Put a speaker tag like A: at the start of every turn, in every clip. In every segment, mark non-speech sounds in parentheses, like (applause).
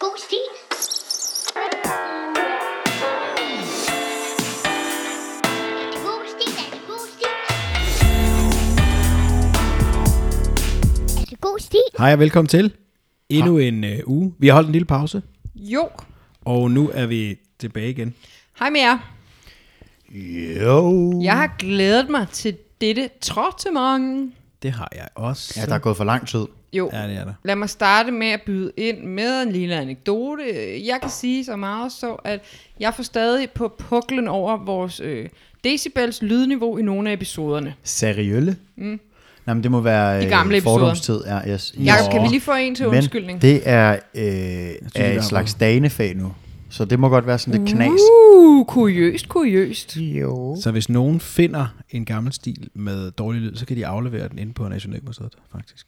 A: Boosty. God stil.
B: Hej og velkommen til endnu en øh, uge. Vi har holdt en lille pause,
C: Jo.
B: og nu er vi tilbage igen.
C: Hej med jer.
D: Jo.
C: Jeg har glædet mig til dette trottemangen.
B: Det har jeg også.
D: Ja, der er gået for lang tid.
C: Jo.
B: Ja, det er der.
C: Lad mig starte med at byde ind med en lille anekdote. Jeg kan sige så meget så, at jeg får stadig på puklen over vores øh, decibels lydniveau i nogle af episoderne.
D: Seriølle? Mm. Nej, men det må være
C: De gamle
D: øh, fordomstid. Ja, yes.
C: Jakob, kan vi lige få en til undskyldning?
D: Men det er, øh,
B: er
D: er
B: bare-
D: et slags danefag nu. Så det må godt være sådan lidt knas.
C: Uh, kuriøst, kuriøst.
D: Jo.
B: Så hvis nogen finder en gammel stil med dårlig lyd, så kan de aflevere den inde på Nationalmuseet, faktisk.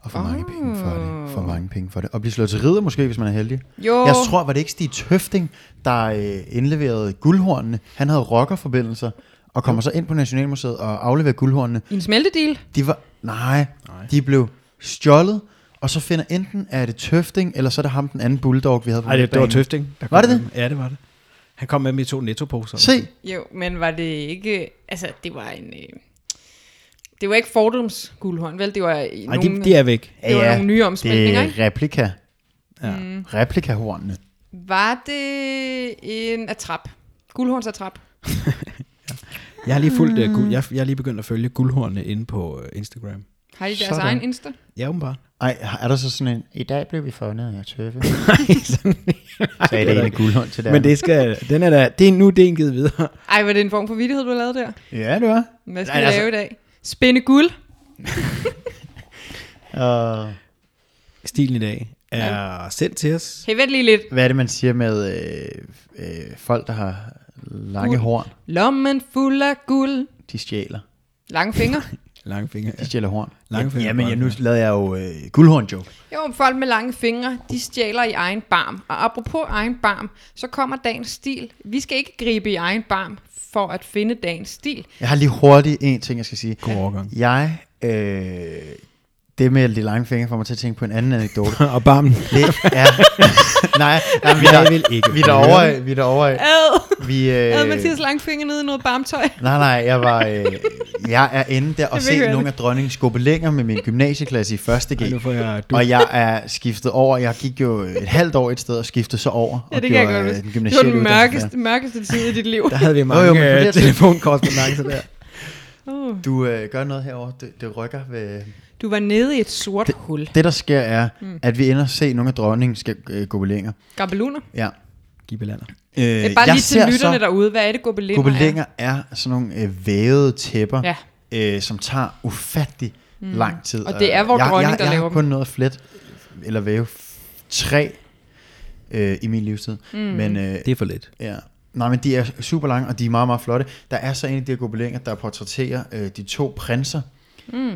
D: Og for mange penge for det. For mange penge for det. Og blive slået til ridder måske, hvis man er heldig.
C: Oh. Jo.
D: Jeg tror, var det ikke Stig Tøfting, der øh, indleverede guldhornene. Han havde rockerforbindelser og kommer så ind på Nationalmuseet og afleverer guldhornene.
C: I en smeltedeal?
D: De var, nej, nej, de blev stjålet, og så finder enten, er det Tøfting, eller så er det ham, den anden bulldog, vi havde på
B: Nej, det, det var
D: midtbanen.
B: Tøfting. Der kom
D: Var det
B: med
D: det?
B: dem. Ja, det var det. Han kom med dem i to nettoposer.
D: Se,
C: Jo, men var det ikke... Altså, det var en... Øh, det var ikke fordoms guldhånd, vel? Det var i
B: Nej,
C: nogle,
B: de, de er væk.
C: det var nogle nye omsmeltninger,
D: det
C: ikke?
D: er replika.
B: Ja.
D: Mm. Replikahornene.
C: Var det en atrap? Guldhornsattrap?
B: Jeg har lige fulgt, uh, guld, jeg, jeg er lige begyndt at følge guldhornene inde på uh, Instagram.
C: Har de deres
D: Sådan.
C: egen Insta?
B: Ja, (laughs) åbenbart.
D: Ej, er der så sådan en, i dag blev vi fundet af
B: (laughs)
D: tøffe. Så er
B: det er
D: det
B: der
D: en
B: ikke.
D: guldhånd til der.
B: Men det skal, den er der, det er nu, det er en givet videre.
C: Ej, var det en form for vidighed, du har lavet der?
D: Ja, det var.
C: Hvad skal
D: Nej,
C: vi
D: altså-
C: lave i dag? Spænde guld?
D: Og
B: Stilen i dag er sendt til os.
C: Hey, vent lige lidt.
D: hvad er det, man siger med øh, øh, folk, der har lange
C: Guld.
D: horn?
C: Lommen fuld af guld.
D: De stjæler.
C: Lange
D: (laughs)
C: fingre.
B: Lange fingre.
D: De stjæler horn.
B: Lange fingre
D: ja, men
B: på
D: ja,
B: lange
D: nu
B: fingre.
D: lavede jeg jo øh, guldhorn-joke.
C: Jo, folk med lange fingre, de stjæler i egen barm. Og apropos egen barm, så kommer dagens stil. Vi skal ikke gribe i egen barm for at finde dagens stil.
D: Jeg har lige hurtigt en ting, jeg skal sige.
B: God overgang. (laughs)
D: Jeg, øh, det med de lange fingre får mig til at tænke på en anden anekdote.
B: og barmen.
D: Det er,
B: (laughs)
D: nej, nej vi,
B: Jeg
D: er,
B: vil ikke
D: vi er derovre, vi er derovre,
C: Ad!
D: vi,
C: Ad,
D: øh,
C: Mathias lange fingre ned i noget barmtøj.
D: nej, nej, jeg var, øh, jeg er inde der og
C: vil høre
D: se
C: det.
D: nogle af dronningens skubbelænger med min gymnasieklasse i 1.
B: Ej, nu
D: G.
B: får jeg du.
D: Og jeg er skiftet over, jeg gik jo et halvt år et sted og skiftede så over.
C: Ja,
D: og
C: det kan jeg
D: gjorde,
C: godt
D: øh,
C: huske.
D: den
C: Det var
D: gymnasiale
C: den
D: uddannelse
C: mørkeste, mørkeste tid i dit liv.
B: Der havde vi
D: Jo, jo,
B: mange
D: men fordi
B: øh,
D: jeg tænkte-
B: telefonkorrespondancer der.
C: Oh.
D: færdig. Du øh, gør noget herovre, det, det rykker ved...
C: Du var nede i et sort det, hul.
D: Det der sker er, mm. at vi ender og se nogle af dronningens øh, gobelinger.
C: Gabeluner.
D: Ja.
B: Gibelander.
D: Øh,
C: Det er bare
D: jeg
C: lige til
D: ser
C: lytterne
D: så-
C: derude. Hvad er det, gobelinder
D: Gobelinger er sådan nogle øh, vævede tæpper,
C: Ja.
D: øh, som tager ufattelig mm. lang tid.
C: Og det er vor
D: jeg,
C: dronning,
D: jeg,
C: der
D: jeg
C: laver
D: har
C: dem.
D: kun noget flet, eller væve f- tre øh, i min livstid. Mm. Men, øh,
B: Det er for lidt.
D: ja. Nej, men de er super lange, og de er meget, meget flotte. Der er så en af de her gobelinger, der portrætterer øh, de to prinser. Mm.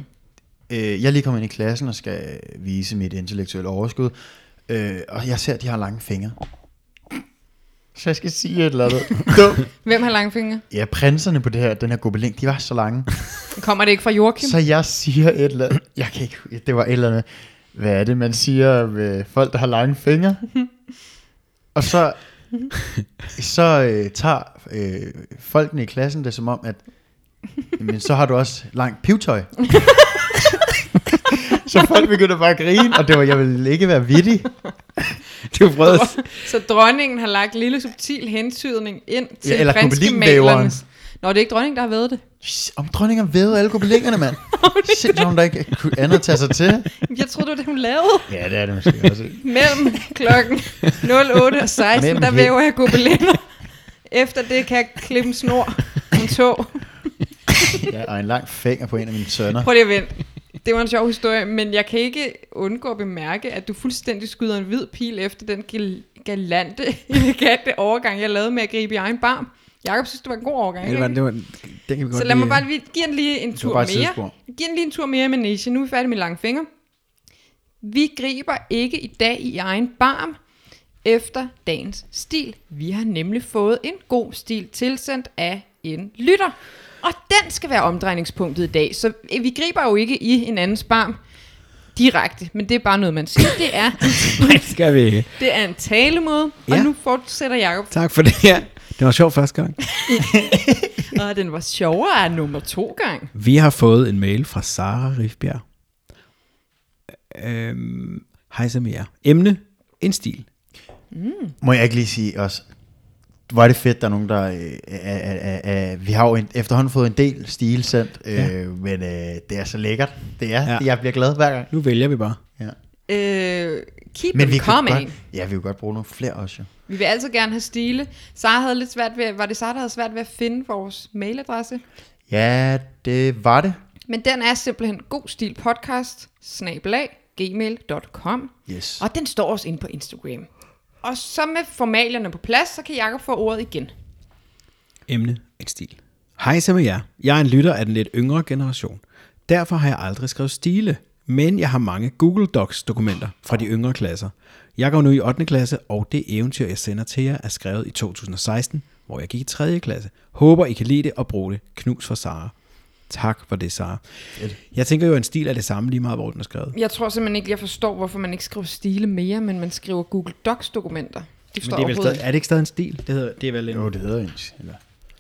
D: Øh, jeg er lige kommet ind i klassen og skal vise mit intellektuelle overskud, øh, og jeg ser, at de har lange fingre. Så jeg skal sige et eller (laughs) andet. Dumt.
C: er? Hvem har lange fingre?
D: Ja, prinserne på det her, den her gobeling, de var så lange.
C: Kommer det ikke fra Joachim?
D: så jeg siger et eller andet. Jeg kan ikke, hu- det var et eller andet. Hvad er det, man siger med folk, der har lange fingre? Og så, så øh, tager øh, folkene i klassen det som om, at men så har du også langt pivtøj. så folk begyndte bare at grine, og det var, jeg ville ikke være vittig.
B: Du prøvede (laughs) at
C: Så dronningen har lagt lille subtil hensydning ind til
D: Ja, eller
C: prinskemalerne. Nå, det er ikke dronningen, der har ved det.
D: Om dronninger ved alle gobelingerne, mand. Sindssygt, hun der ikke kunne andet at tage sig til.
C: Jeg troede, det var det, hun lavede.
D: Ja, det er det måske også.
C: Mellem klokken 08 og 16,
D: Mellem
C: der
D: he-
C: væver jeg gobelinder. Efter det kan jeg klippe en snor om tog.
D: Ja, og en lang finger på en af mine sønner.
C: Prøv lige at vente. Det var en sjov historie, men jeg kan ikke undgå at bemærke, at du fuldstændig skyder en hvid pil efter den gal- galante, (laughs) elegante overgang, jeg lavede med at gribe i egen barm. Jakob synes, det var en god overgang.
B: det
C: Ikke?
B: var, det var, den kan vi godt
C: Så lad mig
B: lige-
C: bare lige, give den lige en tur
D: bare
C: mere.
D: et sidespor.
C: Giv den lige en tur mere i Manege. Nu er vi færdige med lange fingre. Vi griber ikke i dag i egen barm efter dagens stil. Vi har nemlig fået en god stil tilsendt af en lytter. øh, Og den skal være omdrejningspunktet i dag. Så vi griber jo ikke i en andens barm. direkte, men det er bare noget, man siger. Det
D: (laughs)
C: er,
B: Nej, det skal vi ikke.
C: (laughs) det er en talemåde, ja.
B: Ja.
C: og nu fortsætter Jacob.
B: Tak for det her. Det var sjovt første gang.
C: Og den var sjovere af nummer to gang.
B: Vi har fået en mail fra Sara Rifbjerg. Øhm, hej så med jer. Emne, en stil.
D: Må jeg ikke lige sige også, hvor er det fedt, der er nogen, der... Øh, er, er, er, er, vi har jo en, efterhånden fået en del stil sendt, øh, ja. men øh, det er så lækkert. Det er,
B: Ja.
D: ja. jeg bliver glad hver gang.
B: Nu vælger vi bare.
D: Ja.
C: Øh, keep
D: Men
C: men
D: vi
C: them
D: kan
C: coming.
D: godt, ja, vi vil godt bruge nogle flere også, jo.
C: Vi vil altid gerne have stile. Sara havde lidt svært ved, var det Sara, der havde svært ved at finde vores mailadresse?
D: Ja, det var det.
C: Men den er simpelthen godstilpodcast, snabelag, gmail.com.
D: Yes.
C: Og den står også inde på Instagram. Og så med formalierne på plads, så kan Jacob få ordet igen.
B: Emne, en stil. Hej så med jer. Jeg er en lytter af den lidt yngre generation. Derfor har jeg aldrig skrevet stile, men jeg har mange Google Docs dokumenter fra de yngre klasser. Jeg går nu i 8. klasse, og det eventyr, jeg sender til jer, er skrevet i 2016, hvor jeg gik i 3. klasse. Håber, I kan lide det og bruge det. Knus for Sara. Tak for det, Sara. Jeg tænker jo, at en stil er det samme lige meget, hvor den er skrevet.
C: Jeg tror simpelthen ikke, jeg forstår, hvorfor man ikke skriver stile mere, men man skriver Google Docs-dokumenter. Det
B: Men
C: forstår
B: det er,
C: jeg
B: vel
C: overhovedet
B: stadig,
C: ikke.
B: er det ikke stadig en stil? Det, hedder, det er vel en...
D: Jo, det hedder jo ens. Eller?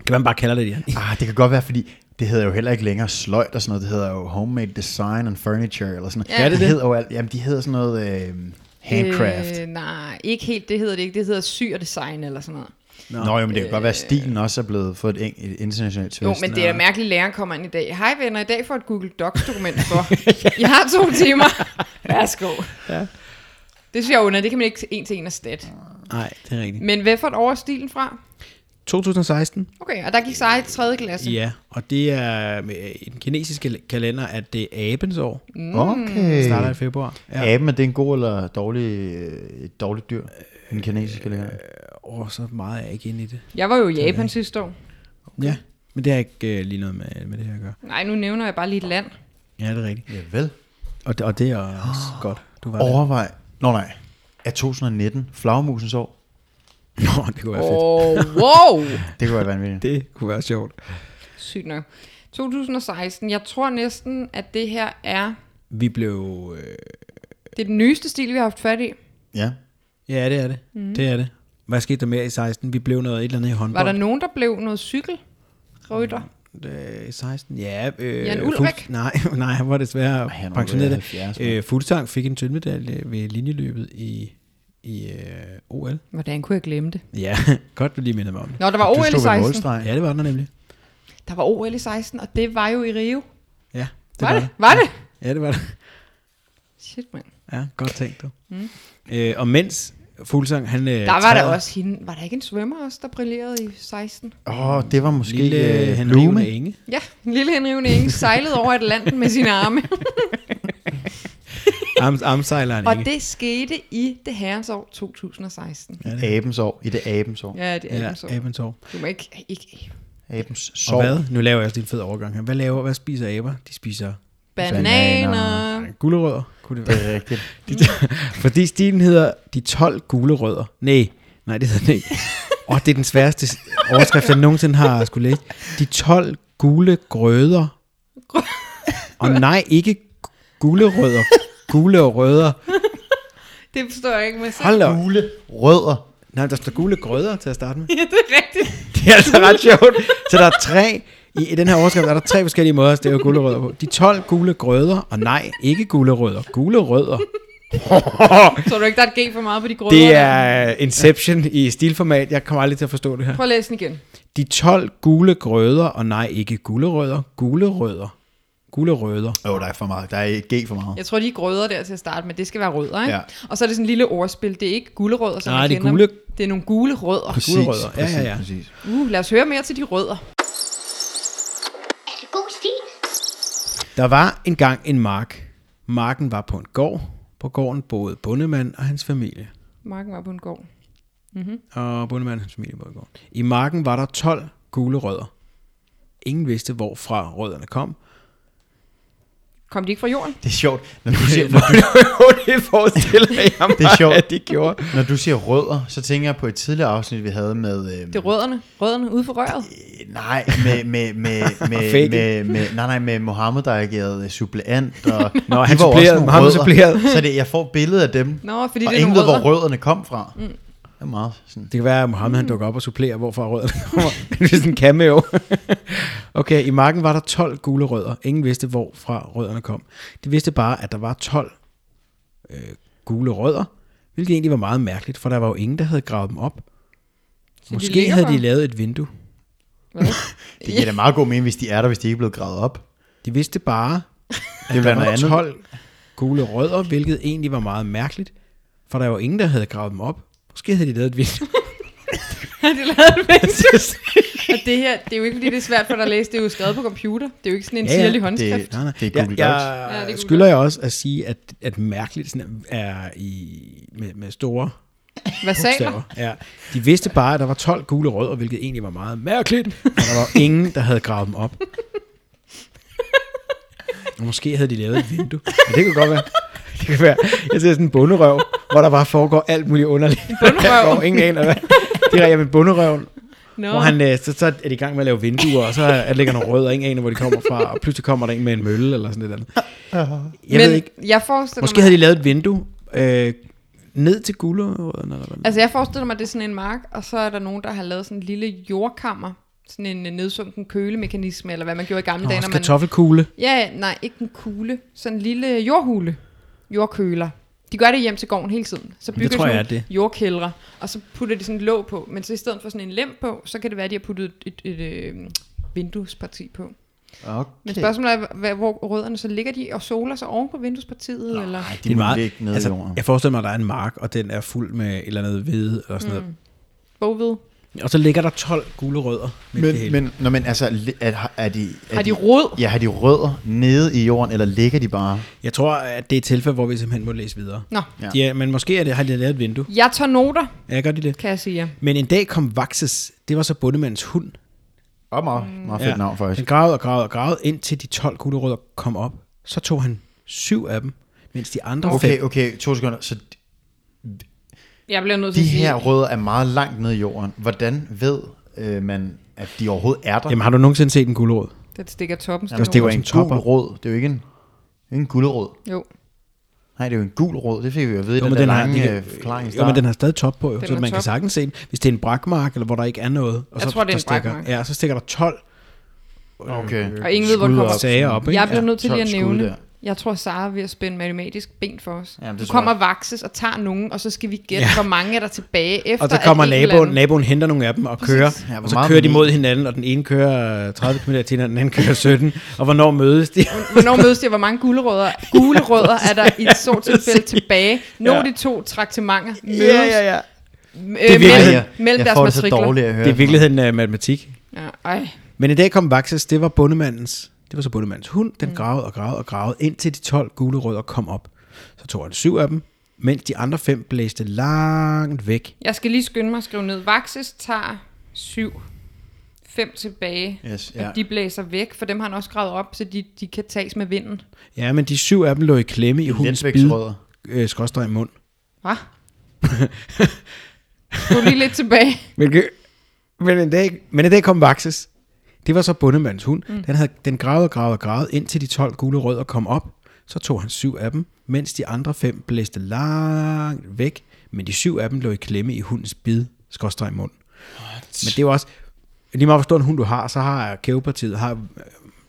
B: Kan man bare kalde det
D: (laughs)
B: det?
D: Ah, det kan godt være, fordi det hedder jo heller ikke længere sløjt og sådan noget. Det hedder jo homemade design and furniture eller sådan noget.
C: Ja. Er det
B: det?
D: hedder jo alt. Jamen, de hedder sådan noget øh, handcraft.
C: Øh, nej, ikke helt. Det hedder det ikke. Det hedder syr og design eller sådan noget.
D: Nå, Nå jo, men det kan godt være, at stilen også er blevet fået et, eng- et internationalt twist.
C: Øh, Jo, men det er mærkeligt, at læreren kommer ind i dag. Hej venner, i dag får et Google
B: (laughs)
C: Docs-dokument for. I har to timer. Værsgo. Ja. Det synes jeg er under, det kan man ikke en til en erstatte.
B: Nej, det er rigtigt.
C: Men hvad får du over stilen fra?
B: 2016,
C: Okay, og der gik sig i 3. klasse.
B: Ja, og det er med- øh, i den kinesiske kalender, at det er abens år. Mm.
D: Okay.
B: starter i februar. Ja.
D: Aben, er det en god eller dårlig, øh, et dårligt dyr? Den kinesiske lærer.
B: Og så meget er jeg ikke inde i det.
C: Jeg var jo i Japan sidste år.
B: Okay. Ja, men det har ikke øh, lige noget med, med det her at gøre.
C: Nej, nu nævner jeg bare lige et land.
B: Ja, det er rigtigt.
D: Ja, vel.
B: Og det, og det er også oh. godt. Du var der.
D: Overvej. Nå nej. Er 2019 flagmusens år?
B: (laughs) Nå, det kunne være fedt.
C: Åh,
B: (laughs)
C: oh, wow!
D: (laughs) Det kunne være vanvittigt.
B: Det kunne være sjovt.
C: Sygt nok. 2016, jeg tror næsten, at det her er
B: Vi blev... Øh,
C: det, er den nyeste stil, vi har haft fat i.
D: Ja.
B: ja, det er det. Mm. Det er det. Hvad skete der mere i 16? Vi blev noget et eller andet i
C: Var
B: håndbold.
C: der nogen, der blev noget cykel? Rytter.
B: Øh, 16? Ja. Øh,
C: Jan Ulrik?
B: Fugt- nej, (laughs) nej, han var desværre
D: han var ved
B: pensioneret.
D: 70, mand.
B: Øh, Fuglsang fik en sølvmedalje ved linjeløbet i, i øh, OL.
C: Hvordan kunne jeg glemme det?
B: Ja, (laughs) godt du lige mindede mig om det.
C: Nå, der var
D: Du
C: OL i
D: stod ved
C: 16.
D: målstregen.
B: Ja, det var den nemlig.
C: Der var OL i 16, og det var jo i Rio. Det
B: Ja, det
C: var, var det? Var det?
B: Ja, det var det.
C: Shit, mand.
B: Ja, godt tænkt du. Mm. Øh, og mens Fuglsang, han... øh,
C: Der var der
B: træder-
C: også hende. Var der ikke en svømmer også, der brillerede i 16?
D: Åh, oh, det var måske
B: Lille øh,
D: Lille, øh,
B: Henrik
D: Blume.
B: Rune Inge.
C: Ja, en lille Henrivne Inge sejlede over Atlanten med sine
B: (laughs)
C: arme.
B: Arms, armsejleren
C: og
B: Inge.
C: det skete i det herrens år 2016. Ja,
D: Abens år. I det abens år.
C: ja det er altså- ja, så.
B: Ja, abens år.
C: Du må ikke... ikke.
D: Abens
B: Og
D: sår.
B: hvad? Nu laver jeg også lige en fed overgang her. Hvad laver, hvad spiser aber? De spiser
C: Bananer.
B: øh, gulerødder, kunne det
D: Det
B: være.
D: er rigtigt. (laughs)
B: De, fordi stilen hedder De 12 gulerødder. Nej, nej, det hedder den ikke. Og det er den sværeste overskrift, jeg nogensinde har skulle læse. De 12 gule grøder. Og nej, ikke gu- gulerødder. Gule og rødder.
C: Det forstår jeg ikke med sig.
B: Hold da op.
D: Gule rødder.
B: Nej, der står gule grødder til at starte med.
C: (laughs) Ja, det er rigtigt.
B: Det er altså ret sjovt. Så der er tre, i, i den her overskrift er der tre forskellige måder at stave gulerødder på. De 12 gule grøder, og nej, ikke gulerødder, gulerødder.
C: Tror du ikke, der er et G for meget på de grøde?
B: Det er Inception i stilformat. Jeg kommer aldrig til at forstå det her.
C: Prøv at læse den igen.
B: De 12 gule grøder, og nej, ikke gulerødder, gulerødder. Gulerødder.
D: Åh, oh, der er for meget. Der er et G for meget.
C: Jeg tror, de er grøder der til at starte med. Det skal være rødder, ikke?
D: Ja.
C: Og så er det sådan en lille ordspil. Det er ikke gulerødder, som
B: Nej,
C: man
B: det er
C: kender
B: gule-
C: dem. Det er nogle gule rødder.
B: gulerødder. Ja, ja, ja.
D: præcis.
C: Uh, lad os høre mere til de rødder.
A: Er det god stil?
B: Der var engang en mark. Marken var på en gård. På gården boede bondemand og hans familie.
C: Marken var på en gård.
B: og bondemanden og hans familie var i går. I marken var der 12 (laughs) gule rødder. Ingen vidste, hvorfra rødderne kom.
C: Kom de ikke fra jorden?
D: Det er sjovt, når du siger, når du,
B: det forestiller jeg mig,
D: Det er sjovt.
B: at de gjorde.
D: når du siger rødder, så tænker jeg på et tidligere afsnit, vi havde med... Øh,
C: Det er rødderne. Rødderne ude for (laughs) røret.
D: Øh, Nej, med, med, med, med,
B: Fake.
D: med, med, nej, nej, med Mohammed, der agerede suppleant. Og
B: Nå,
D: de
B: han
D: var jo
B: supplerede,
D: nogle
B: Mohammed
D: rødder.
B: supplerede.
D: (laughs) Så det, jeg får billedet af dem,
C: Nå, fordi
D: og
C: det er
D: ingen
C: nogle
D: ved, hvor
C: rødder.
D: rødderne kom fra. Mm. Det er meget sådan.
B: Det kan være, at Mohammed
C: Mm.
B: han dukker op og supplerer, hvorfor rødderne (laughs) kommer. det er sådan en cameo. (laughs) okay, i marken var der 12 gule rødder. Ingen vidste, hvorfra rødderne kom. De vidste bare, at der var 12 øh, gule rødder, hvilket egentlig var meget mærkeligt, for der var jo ingen, der havde gravet dem op.
C: de
B: Måske
C: ligger
B: havde de
C: bare.
B: lavet et vindue.
D: Det giver da meget god mening, hvis de er der, hvis de ikke er blevet gravet op.
B: De vidste bare,
D: Det er
B: Der
D: blandt
B: var
D: andet.
B: 12 gule rødder, hvilket egentlig var meget mærkeligt, for der var ingen, der havde gravet dem op. Måske havde de lavet et vindue. (laughs)
C: det lavede et menneske. Og det her, det er jo ikke, fordi det er svært for dig at læse. Det er jo skrevet på computer. Det er jo ikke sådan en
B: Ja,
C: ja,
B: ja,
C: sirlig
B: det-
C: håndskrift.
D: Det, det er
B: Jeg,
D: Google
B: jeg
D: Docs.
C: Ja, det er
B: ja,
C: Google
B: skylder jeg også at sige, at, at mærkeligt sådan er i, med, med store
C: Hvad sagde du?
B: bogstaver. Ja. De vidste bare, at der var 12 gule rødder, hvilket egentlig var meget mærkeligt, og der var
C: (laughs)
B: ingen, der havde gravet dem op. Og måske havde de lavet et vindue. Men det kunne godt være. Det kan være. Jeg ser sådan en bunderøv, hvor der bare foregår alt muligt underligt. En
C: bunderøv?
B: Hvor ingen aner, hvad. Det er jeg med bunderøven,
C: Nå,
B: Hvor han, øh, så, så er de i gang med at lave vinduer, og så er- ligger nogle rødder, ingen aner, hvor de kommer fra, og pludselig kommer der en med en mølle, eller sådan et eller andet. Jeg
C: men
B: ved ikke,
C: jeg forestiller
B: måske
C: mig,
B: havde de lavet et vindue øh, ned til gulerødderne, eller hvad?
C: altså jeg forestiller mig, det er sådan en mark, og så er der nogen, der har lavet sådan en lille jordkammer, sådan en øh, nedsunken kølemekanisme, eller hvad man gjorde i gamle dage,
B: Nå,
C: når man...
B: kartoffelkugle.
C: Ja, nej, ikke en kugle. Sådan en lille jordhule. Jordkøler. De gør det hjem til gården hele tiden. Så bygger de
B: tror
C: sådan
B: jeg
C: nogle
B: er
C: jordkældre, og så putter de sådan et låg på. Men så i stedet for sådan en lem på, så kan det være, at de har puttet et, et, et øh, vinduesparti på. Men
D: Okay.
C: spørgsmålet er, hvad, hvor rødderne så ligger de og soler sig oven på vinduespartiet? Nej. Eller?
D: Ej,
B: Det
D: de
B: er
D: må
B: meget,
D: ligge ned i
B: altså,
D: jorden.
B: jeg forestiller mig, at der er en mark, og den er fuld med et eller andet hvide, eller sådan mm.
C: Bogved.
B: noget. Og så ligger der 12 gule rødder. midt i det
D: Men,
B: hele.
D: men, nå, men altså, li- er, er de, er
C: Har de rod?
D: Ja, har de rødder nede i jorden, eller ligger de bare?
B: Jeg tror, at det er et tilfælde, hvor vi simpelthen må læse videre.
C: Nå,
D: Ja.
B: Ja. Ja, men måske er det, har de lavet et vindue.
C: jeg tager noter,
B: Ja, gør de det?
C: kan jeg sige. jer.
B: Men en dag kom Vaxes, det var så bundemandens hund,
D: Og meget, meget
C: Mm.
D: fedt ja. navn,
B: Han
D: faktisk.
B: gravede og gravede og gravede, indtil de 12 gulerødder kom op. Så tog han syv af dem, mens de andre
D: Okay,
B: fem...
D: okay, to sekunder. Så de-
C: Jeg bliver nødt til
D: de
C: at sige,
D: her rødder er meget langt nede i jorden. Hvordan ved øh, man, at de overhovedet er der?
B: Jamen, altså, har du nogensinde set en gulerod?
C: den stikker toppen.
D: Jamen,
C: Jamen,
D: det er jo en
B: som
D: gul
B: topper.
D: rød. Det er jo ikke en, det er jo ikke en gulerod.
C: Jo,
D: Nej, det er jo en gul rød. Det fik vi jo at vide i
B: Jo,
D: den,
B: men
D: der
B: den, har,
D: lange
B: de
D: øh,
B: kan,
D: forklaring i
B: jo, men
D: starten.
B: den har stadig top på, jo,
C: Den
B: så
C: har
B: man
C: top.
B: kan sagtens se den. Hvis det er en brakmark, eller hvor der ikke er noget, og
C: Jeg
B: så,
C: tror, det
B: der
C: er en
B: stikker,
C: brakmark.
B: ja, så stikker der 12
D: Okay.
C: og ingen ved, hvor den
D: Skud
C: kommer
D: op.
B: sager op. Ikke?
C: Jeg bliver
D: Ja,
C: nødt til lige at
D: 12 skud
C: nævne,
D: der.
C: jeg tror, Sara er ved at spænde matematisk ben for os.
D: Jamen, det
C: du
D: tror jeg.
C: kommer vakses og tager nogen, og så skal vi gætte, ja. hvor mange er der tilbage efter.
B: Og så
C: at
B: kommer
C: en eller
B: naboen,
C: anden-
B: naboen henter nogle af dem og kører,
D: Ja, hvor
B: og så
D: meget
B: kører de
D: magi.
B: mod hinanden, og den ene kører øh, 30 km til, og den anden kører 17, og hvornår mødes de?
C: Hvornår mødes de, og hvor mange
B: (laughs)
C: gulerødder, gulerødder er der i et så tilfælde tilbage? Nogle af
B: Ja.
C: de to traktementer mødes
B: ja.
C: Øh,
B: virkelig-
C: mellem,
D: jeg,
C: mellem
D: jeg
C: deres
D: får det så
C: matrikler.
D: dårligt at høre.
B: Det er i virkeligheden øh, matematik.
C: Ja, ej.
B: Men i dag kom Vaxes, det var bundemandens, det var så bundemandens hund, den mm. gravede og gravede og gravede, indtil de 12 gule rødder kom op. Så tog han syv af dem, mens de andre fem blæste langt væk.
C: Jeg skal lige skynde mig at skrive ned. Vaxes tager syv. Fem tilbage.
D: Yes, ja.
C: Og de blæser væk, for dem har han også gravet op, så de, de kan tages med vinden.
B: Ja, men de syv af dem lå i klemme i hundens bid,
D: Letvægtsrødder.
B: øh, skråstreg mund.
C: Hvad? Gå lige lidt (laughs) tilbage.
B: Men, men, en dag, men en dag kom Vaxes. Det var så bundemandens hund. Mm. Den, havde, den gravede og gravede og gravede, indtil de 12 gule rødder kom op. Så tog han syv af dem, mens de andre fem blæste langt væk. Men de syv af dem lå i klemme i hundens bid, skorstræk mund. What? Men det er jo også... Lige meget hvor stor en hund du har, så har kævepartiet har øh, en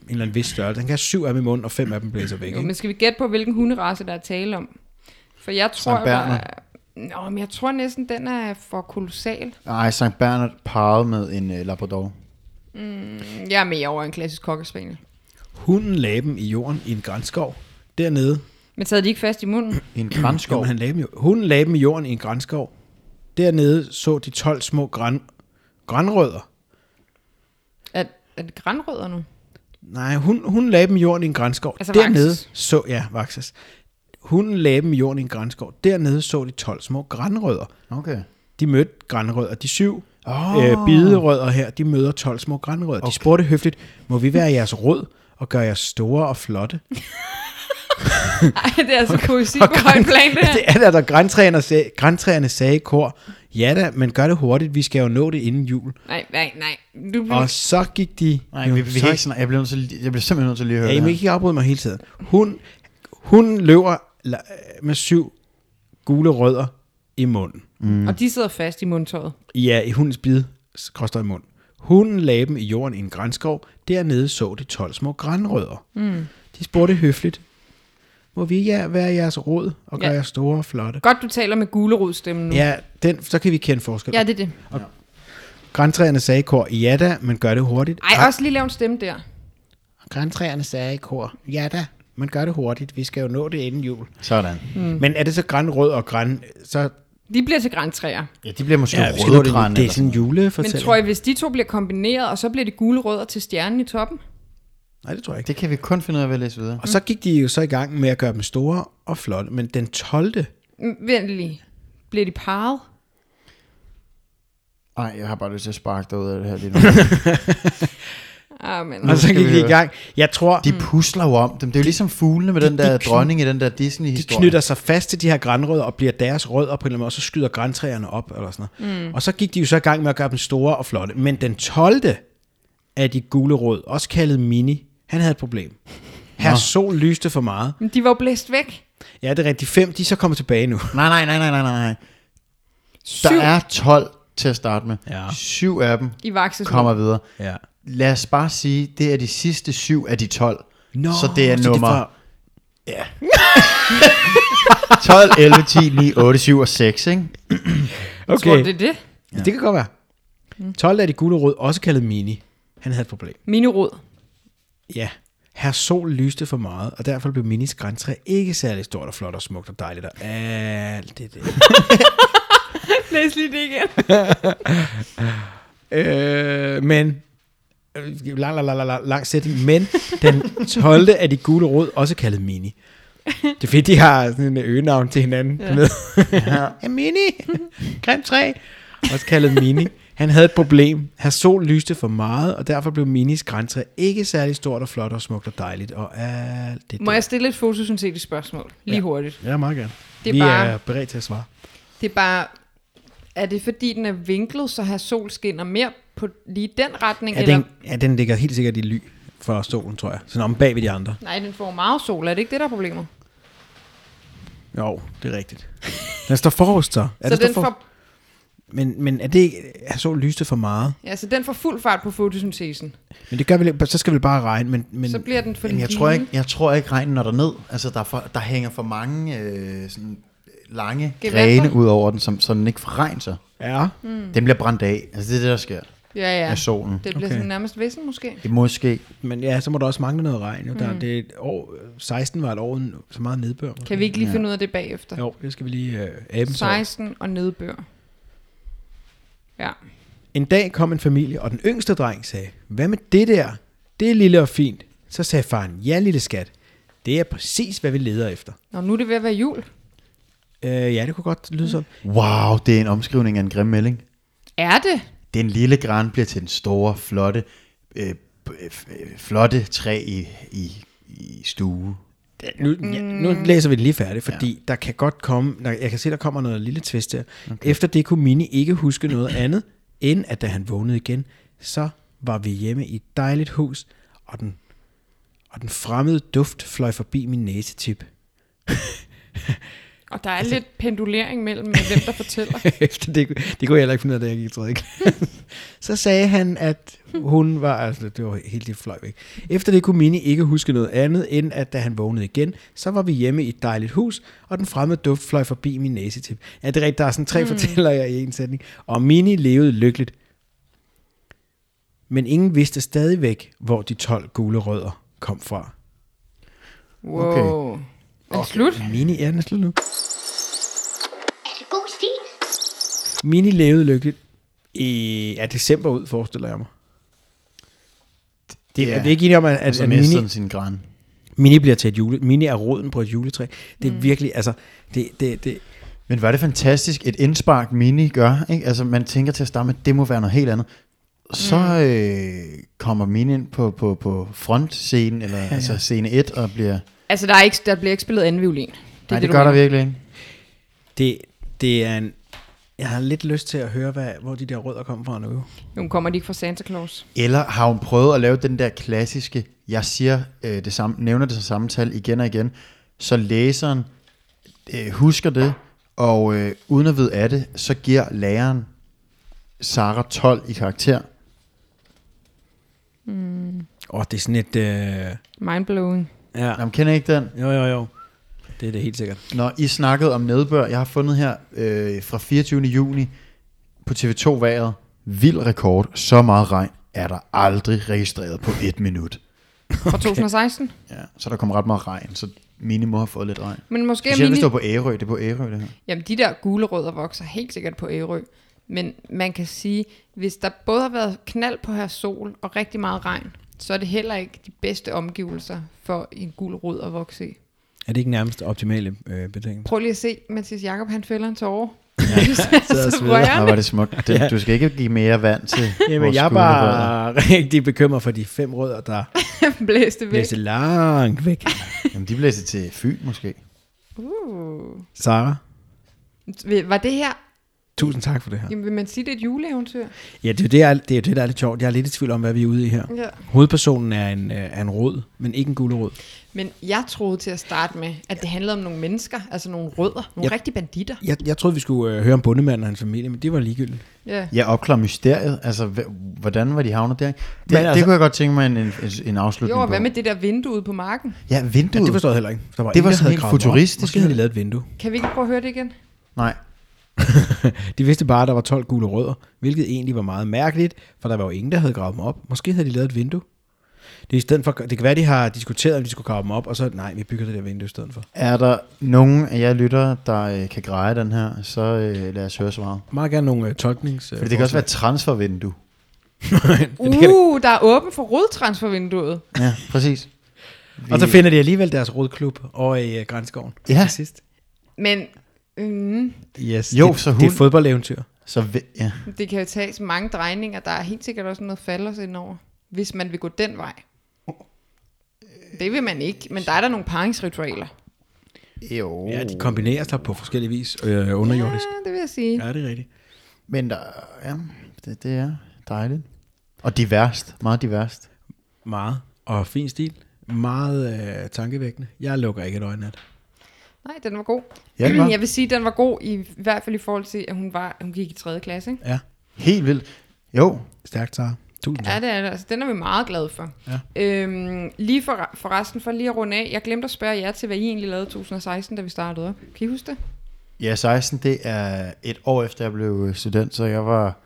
B: eller anden vis størrelse. Den kan have syv af dem i munden, og fem af dem blæser væk.
C: Jo,
B: Ikke?
C: men skal vi gætte på, hvilken hunderace, der er tale om? For jeg tror...
D: Sankt Bernhard.
C: Jeg, Nå, men jeg tror næsten, den er for kolossal.
D: Nej, Sankt Bernard parret med en uh, Labrador.
C: Jeg er mere over en klassisk kokkespaniel.
B: Hunden lagde dem i jorden i en grænskov. Dernede
C: Men sad de ikke fast i munden?
D: I
B: (clears throat)
D: en
B: Jo,
D: grænskov.
B: men han lagde dem jo. Hunden lagde dem i jorden i en grænskov. Dernede så de 12 små græn, grænrødder.
C: Er, er det grænrødder nu? (laughs)
B: Nej, hun, hun lagde dem i jorden i en grænskov.
C: Altså
B: Dernede
C: Vaxes.
B: så... Ja, Vaxes. Hunden lagde dem i jorden i en grænskov. Dernede så de 12 små grænrødder.
D: Okay.
B: De mødte grænrødder. De syv
D: Åh.
B: oh. øh, biderødder her, de møder 12 små grænrødder. Okay. De spurgte høfligt, må vi være jeres rød? og gør jer store og
C: (laughs)
B: flotte.
C: Ej, det er altså poesi på højt plan, det her.
B: (laughs) det er der, der græntræerne sagde, græntræerne sagde i kor, ja da, men gør det hurtigt, vi skal jo nå det inden jul.
C: Nej, nej, nej. Du,
B: Og så gik de...
D: Nej, vi, vi
B: så-
D: kan ikke sådan, jeg bliver, nødt til, lige- jeg bliver simpelthen nødt til lige at høre
B: Ja, I
D: det
B: må
D: her.
B: ikke afbryde mig hele tiden. Hun, hun løber la- med syv gule rødder i munden.
C: Og de sidder fast i mundtøjet.
B: Ja, i hundens bid, koster i mund. Hunden lagde dem i jorden i en grænskov. Dernede så de 12 små grænrødder. Mm. De spurgte høfligt, må vi ja være jeres råd og gøre
C: Ja.
B: jer store og flotte?
C: Godt, du taler med gulerodstemmen nu.
B: Ja, den, så kan vi kende forskel.
C: ja,
B: Ja.
C: det er det.
B: Græntræerne sagde i kor, ja da, men gør det hurtigt.
C: Ej, også lige lav en stemme der.
B: Græntræerne sagde i kor, ja da, men gør det hurtigt. Vi skal jo nå det inden jul.
D: Sådan.
B: Mm. Men er det så grænrød og græn, så
C: De bliver til græntræer.
D: Ja, de bliver måske ja,
B: vi skal nå det,
D: rødgrænne.
B: det er sådan en
C: Men
B: julefortælling.
C: tror I, hvis de to bliver kombineret, og så bliver det gulerødder til stjernen i toppen?
B: Nej, det tror jeg ikke.
D: Det kan vi kun finde ud af ved at læse videre.
C: Mm.
B: Og så gik de jo så i gang med at gøre dem store og flotte, men den 12.
C: Mm, Vent lige. Bliver de parret?
D: Nej, jeg har bare lyst til at sparke dig ud af det her lige nu.
C: Ah, men,
B: Og så
D: skal
B: gik
D: vi
B: de i
D: høre.
B: gang. Jeg tror, de
D: De pusler jo om dem. Det er jo ligesom fuglene med den der dronning i den der Disney-historie.
B: knytter sig fast til de her grænrødder og bliver deres rødder på en eller anden måde, og så skyder græntræerne op eller sådan noget. Mm. Og så gik de jo så i gang med at gøre dem store og flotte. Men den 12. af de gule rød, også kaldet Mini, han havde et
D: (laughs)
B: problem. Her sol lyste for meget.
C: Men de var jo blæst væk.
B: Ja, det er rigtigt. De fem, de er så kommer tilbage nu.
D: Nej, nej, nej, nej, nej, nej.
C: Syv
D: Der er 12 til at starte med.
B: Ja.
D: Syv af dem
C: i vakses
D: kommer videre.
B: Ja.
D: Lad os bare sige, det er de sidste syv af de 12.
B: Nå,
D: så det er
B: de
D: nummer
B: fra-
D: 12, 11, 10, 9, 8, 7 og 6, ikke?
B: Okay.
C: Tror du, det er det?
B: Ja. Mm. Det kan godt være. 12 af de gule rød, også kaldet Mini, han havde et problem.
C: Minerod.
B: Ja, her sol lyste for meget, og derfor blev Minis græntræ ikke særlig stort og flot og smukt og dejligt og alt det der.
C: Læs lige det igen.
B: øh, men, øh, lang, lang, lang, lang, lang, lang sætning, men den 12. af de gule rød, også kaldet Mini. Det er fedt, de har sådan en øh, øgenavn til hinanden. Ja. Med. Ja. (laughs) ja, Mini, grimt træ, også kaldet Mini. Han havde et problem. Hans sol lyste for meget, og derfor blev Minis græntræ ikke særlig stort og flot og smukt og dejligt og alt det
C: (laughs) Må
B: der.
C: jeg stille et fotosyntetisk spørgsmål? Lige ja. hurtigt.
B: Ja, meget gerne.
C: Det er
B: Vi
C: bare-
B: er beredt til at svare.
C: Det er bare... Er det fordi, den er vinklet, så har sol skinner mere på lige den retning?
B: Ja,
C: eller?
B: den, ja, den ligger helt sikkert i ly for solen, tror jeg. Sådan om bag ved de andre.
C: Nej, den får meget sol. Er det ikke det, der er problemet?
B: Jo, det er rigtigt. (laughs) Den står forrest, så. Er
C: så,
B: står
C: den
B: for...
C: får,
B: Men, men er det ikke... Er solen lyste for meget?
C: ja, så den får fuld fart på fotosyntesen.
B: Men det gør vi Så skal vi bare regne, men... men
C: Så bliver den for
D: Jamen, jeg,
C: lille.
D: tror ikke, jeg tror ikke, regnen når derned. Altså, der, er for, der hænger for mange øh, sådan, lange
C: Gevanter.
D: grene ud over den, som, så den ikke får regn sig.
B: Ja.
D: Mm. Den bliver brændt af. Altså, det er det, der sker
C: Ja, ja.
D: af solen.
C: Det bliver
B: Okay.
C: okay. sådan nærmest vissen måske.
D: Det er måske.
B: Men ja, så må der også mangle noget regn. Jo. Der, mm. det er et år, 16 var et år uden så meget nedbør. Måske.
C: Kan vi ikke lige finde ud af det bagefter?
B: Jo, det skal vi lige øh, aben så.
C: 16 og nedbør. Ja.
B: En dag kom en familie, og den yngste dreng sagde, hvad med det der? Det er lille og fint. Så sagde faren, ja lille skat, det er præcis, hvad vi leder efter.
C: Nå, nu er det ved at være jul.
B: Øh, ja, det kunne godt
C: Mm.
B: lyde sådan.
D: Wow, det er en omskrivning af en grim melding.
C: Er det?
D: Den lille gran bliver til den store, flotte, øh, p- øh, f- øh, flotte træ i, i, i stue.
B: Nu, ja, nu læser vi det lige færdigt, fordi Mm. ja. der kan godt komme, der, jeg kan se, der kommer noget lille twist der. Okay. Efter det kunne Mini ikke huske noget andet, end at da han vågnede igen, så var vi hjemme i et dejligt hus, og den, og den fremmede duft fløj forbi min næsetip.
C: Og der er altså, lidt pendulering mellem, øh, hvem der
D: (laughs)
C: fortæller.
B: (laughs) Efter det, kunne- det kunne jeg heller ikke finde ud af, da jeg gik i tredje klasse. (laughs) så sagde han, at hun var... Altså, det var helt det fløj væk. Efter det kunne Mini ikke huske noget andet, end at da han vågnede igen, så var vi hjemme i et dejligt hus, og den fremmede duft fløj forbi min næsetip. Ja, det er rigtigt, der er sådan tre mm. fortæller jeg i en sætning. Og Mini levede lykkeligt. Men ingen vidste stadigvæk, hvor de 12 gule rødder kom fra.
C: Wow. Okay. Men slut.
B: Mini er den slut nu.
A: Er det god stil?
B: Mini levede lykkeligt i ja, december ud, forestiller jeg mig. Det,
D: Ja.
B: ja. Altså Er det ikke enige om, at,
D: Og
B: at,
D: så
B: at
D: mister
B: mini,
D: den sin gran.
B: mini bliver til et jule, Mini er roden på et juletræ. Det er mm. virkelig, altså, det, det, det,
D: Men var det fantastisk, et indspark mini gør, ikke? Altså, man tænker til at starte med, det må være noget helt andet. så øh, kommer mine ind på, på, på frontscenen, eller ja, ja. altså scene 1, og bliver...
C: Altså, der, er ikke, der bliver ikke spillet anden violin. Det, er
D: Nej, det, det
C: du
D: gør der
C: mener.
D: virkelig ikke.
B: Det, det er en... Jeg har lidt lyst til at høre, hvad, hvor de der rødder kommer fra nu.
C: Nu kommer de ikke fra Santa Claus.
D: Eller har hun prøvet at lave den der klassiske, jeg siger øh, det samme, nævner det samme tal igen og igen, så læseren øh, husker det, og øh, uden at vide af det, så giver læreren Sara 12 i karakter.
B: Åh, oh, det er sådan et... Øh,
C: Mindblowing.
B: ja.
D: Jamen, kender I ikke den?
B: Jo, jo, jo. Det er det helt sikkert.
D: Når I snakkede om nedbør, jeg har fundet her øh, fra 24. juni på TV2 vejret. Vild rekord, så meget regn er der aldrig registreret på et minut.
C: Fra 2016.
D: Ja, så der kom ret meget regn, så Mini må have fået lidt regn.
C: Men måske er
D: Specielt hvis
C: mini...
D: det var på Ærø, det er på Ærø det her.
C: Jamen, de der gule rødder vokser helt sikkert på Ærø. Men man kan sige, hvis der både har været knald på her sol og rigtig meget regn, så er det heller ikke de bedste omgivelser for en gul rød at vokse i.
B: Er det ikke nærmest optimale øh, betingelser?
C: Prøv lige at se, Mathias Jakob han fælder en tårer. (laughs) Ja, det ser så
D: Ej,
C: rørende.
D: var det smukt. Det, du skal ikke give mere vand til
B: Jamen,
D: vores
B: jeg er
D: skolerødder.
B: bare rigtig bekymret for de fem rødder, der
C: (laughs) Blæste væk.
B: blæste langt væk.
D: Jamen, de blæste til Fyn måske.
C: Uh.
B: Sara,
C: Var det her,
B: tusind tak for det her.
C: jamen, vil man sige, det er et juleeventyr?
B: Ja, det er jo det, er- det, er jo det der er lidt sjovt. Jeg er lidt i tvivl om, hvad vi er ude i her.
C: Ja.
B: Hovedpersonen er en, øh, er en rød, men ikke en gulerod.
C: Men jeg troede til at starte med, at det handlede om nogle mennesker, altså nogle rødder,
B: Ja.
C: nogle ja. rigtige banditter.
B: Jeg, jeg troede, vi skulle øh, høre om bundemanden og hans familie, men det var ligegyldigt.
C: Ja.
D: Jeg opklarer mysteriet. Altså, hv- hvordan var de havnet der? ikke? Det,
B: Men
D: Men, altså,
B: altså-
D: det kunne jeg godt tænke mig en, en, en afslutning
C: Jo, og
D: på.
C: hvad med det der vindue ude på marken?
D: Ja, vinduet.
B: Ja, det forstod jeg heller ikke. Der var
D: Det
B: ingen,
D: var
B: der
D: sådan
B: havde
D: helt
B: gravet dem op.
D: futuristisk.
B: Måske havde de lavet et vindue.
C: Kan vi ikke prøve at høre det igen?
D: Nej.
B: De vidste bare, at der var 12 gule rødder, hvilket egentlig var meget mærkeligt, for der var jo ingen, der havde gravet dem op. Måske havde de lavet et vindue. Det, er i stedet for, det kan være, de har diskuteret, om de skulle grave dem op, og så nej, vi bygger det der vindue i stedet for.
D: Er der nogen af jer lyttere, der øh, kan greje den her, så øh, lad os høre svaret.
B: Meget gerne nogle øh, tolknings... Øh,
D: For det kan også være et transfervindue.
B: (laughs)
C: Uh, der er åben for rodtransfervinduet.
D: Ja, præcis.
B: Og så finder de alligevel deres rødklub over i øh, Grænskoven
D: Ja.
B: til sidst.
C: Men mm,
B: Yes,
D: Jo,
B: det,
D: så
B: det er
D: hun-
B: et fodboldeventyr.
D: Så vi- ja.
C: det kan jo tages mange drejninger. Der er helt sikkert også noget falders indover, hvis man vil gå den vej. Det vil man ikke, men der er der nogle paringsritualer.
D: Jo.
B: Ja, de kombineres der på forskellige vis øh, underjordisk.
C: Ja, det vil jeg sige.
B: Ja, det er rigtigt.
D: Men der, ja, det, det er dejligt. Og diverst. Meget diverst.
B: Meget. Og fin stil. Meget øh, tankevækkende. Jeg lukker ikke et øje nat.
C: Nej, den var god.
D: Ja, den var.
C: Jeg vil sige, den var god, i, i hvert fald i forhold til, at hun, var, hun gik i 3. klasse. Ikke?
B: Ja,
D: Helt vildt. Jo,
B: stærkt, Sara. Tusind
C: Ja,
B: tak.
C: det er det. Altså, den er vi meget glade for.
B: Ja.
C: Øhm, lige for, for resten, for lige at runde af, jeg glemte at spørge jer til, hvad I egentlig lavede i 2016, da vi startede op. Kan I huske det?
D: Ja, 16, det er et år efter, jeg blev student, så jeg var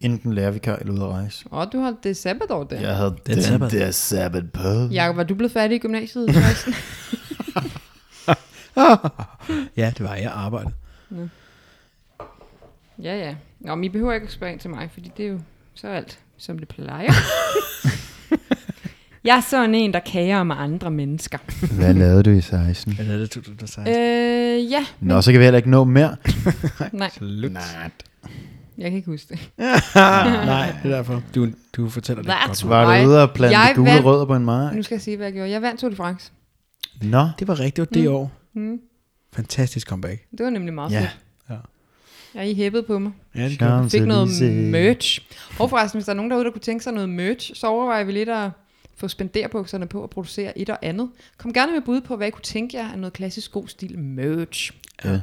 D: enten lærervikar eller ude at rejse.
C: Åh, du har det sabbatår der.
D: Jeg havde
B: er
D: den
B: sabbat.
D: der sabbat på.
C: Jakob, var du blevet færdig i gymnasiet i 16?
B: Ja, det var jeg arbejde.
C: ja, ja. Nå, men I behøver ikke at spørge ind til mig, fordi det er jo så er alt, som det plejer. jeg er sådan en, der kager om andre mennesker.
D: Hvad lavede du i 16?
B: Jeg lavede det 2016.
C: øh, ja.
D: Nå, så kan vi heller ikke nå mere.
C: Nej,
D: Nej.
C: jeg kan ikke huske det.
B: Ah, Nej, det er derfor. Du, du fortæller det
C: That's
B: godt.
D: Var
C: Nej.
D: du ude og plante
C: Jeg
D: gule
C: vandt-
D: rødder på en mark?
C: Nu skal jeg sige, hvad jeg gjorde. Jeg vandt Tour de France.
D: Nå,
B: Det var rigtigt, det var det
C: Mm.
B: år. Fantastisk comeback.
C: Det var nemlig meget
D: Ja.
C: fedt.
B: Ja.
C: Ja, I hæppede på mig.
B: Ja, det
D: Charme.
B: gjorde
C: Jeg fik noget
D: Champs-Élysées.
C: merch. Og forresten, hvis der er nogen derude, der kunne tænke sig noget merch, så overvejer vi lidt at få spenderbukserne på at producere et og andet. Kom gerne med bud på, hvad I kunne tænke jer af noget klassisk god stil merch. Mm.
D: ja.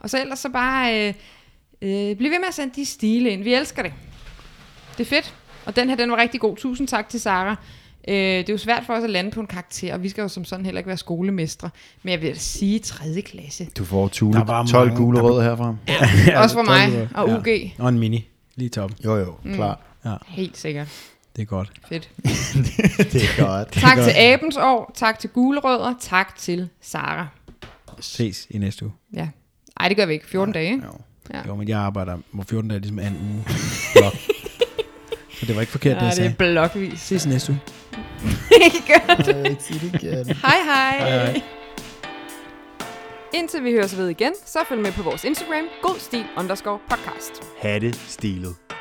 C: Og så ellers så bare øh, øh, bliv ved med at sende de stile ind. Vi elsker det. Det er fedt. Og den her, den var rigtig god. Tusind tak til Sara. Øh, det er jo svært for os at lande på en karakter, og vi skal jo som sådan heller ikke være skolemestre. Men jeg vil sige 3. klasse.
D: Du får tule,
B: Der var
D: 12
B: mange-
D: gule
B: der-
D: rødder herfra.
C: Også for mig og
B: Ja.
C: UG.
B: Og en mini. Lige top.
D: Jo, jo, mm. klar. (laughs)
C: Helt sikkert.
B: Det er godt.
C: Fedt.
D: det er godt.
C: Tak til Abens År, tak til Gulerødder, tak til Sara.
B: Ses i næste uge.
C: Ja. Ej, det gør vi ikke. 14 dage, ikke?
D: Jo.
C: Ja.
B: Jo, men jeg arbejder, hvor 14 dage ligesom er en uge. Blok. Så det var ikke forkert, det
C: Nej,
B: jeg
C: det
B: sagde.
C: er blokvis. (laughs)
B: Ses i næste uge.
D: Jeg vil ikke sige det igen.
C: Hej hej. hej, hej. Indtil vi høres ved igen, så følg med på vores Instagram, godstil underscore podcast.
D: Hatte stilet.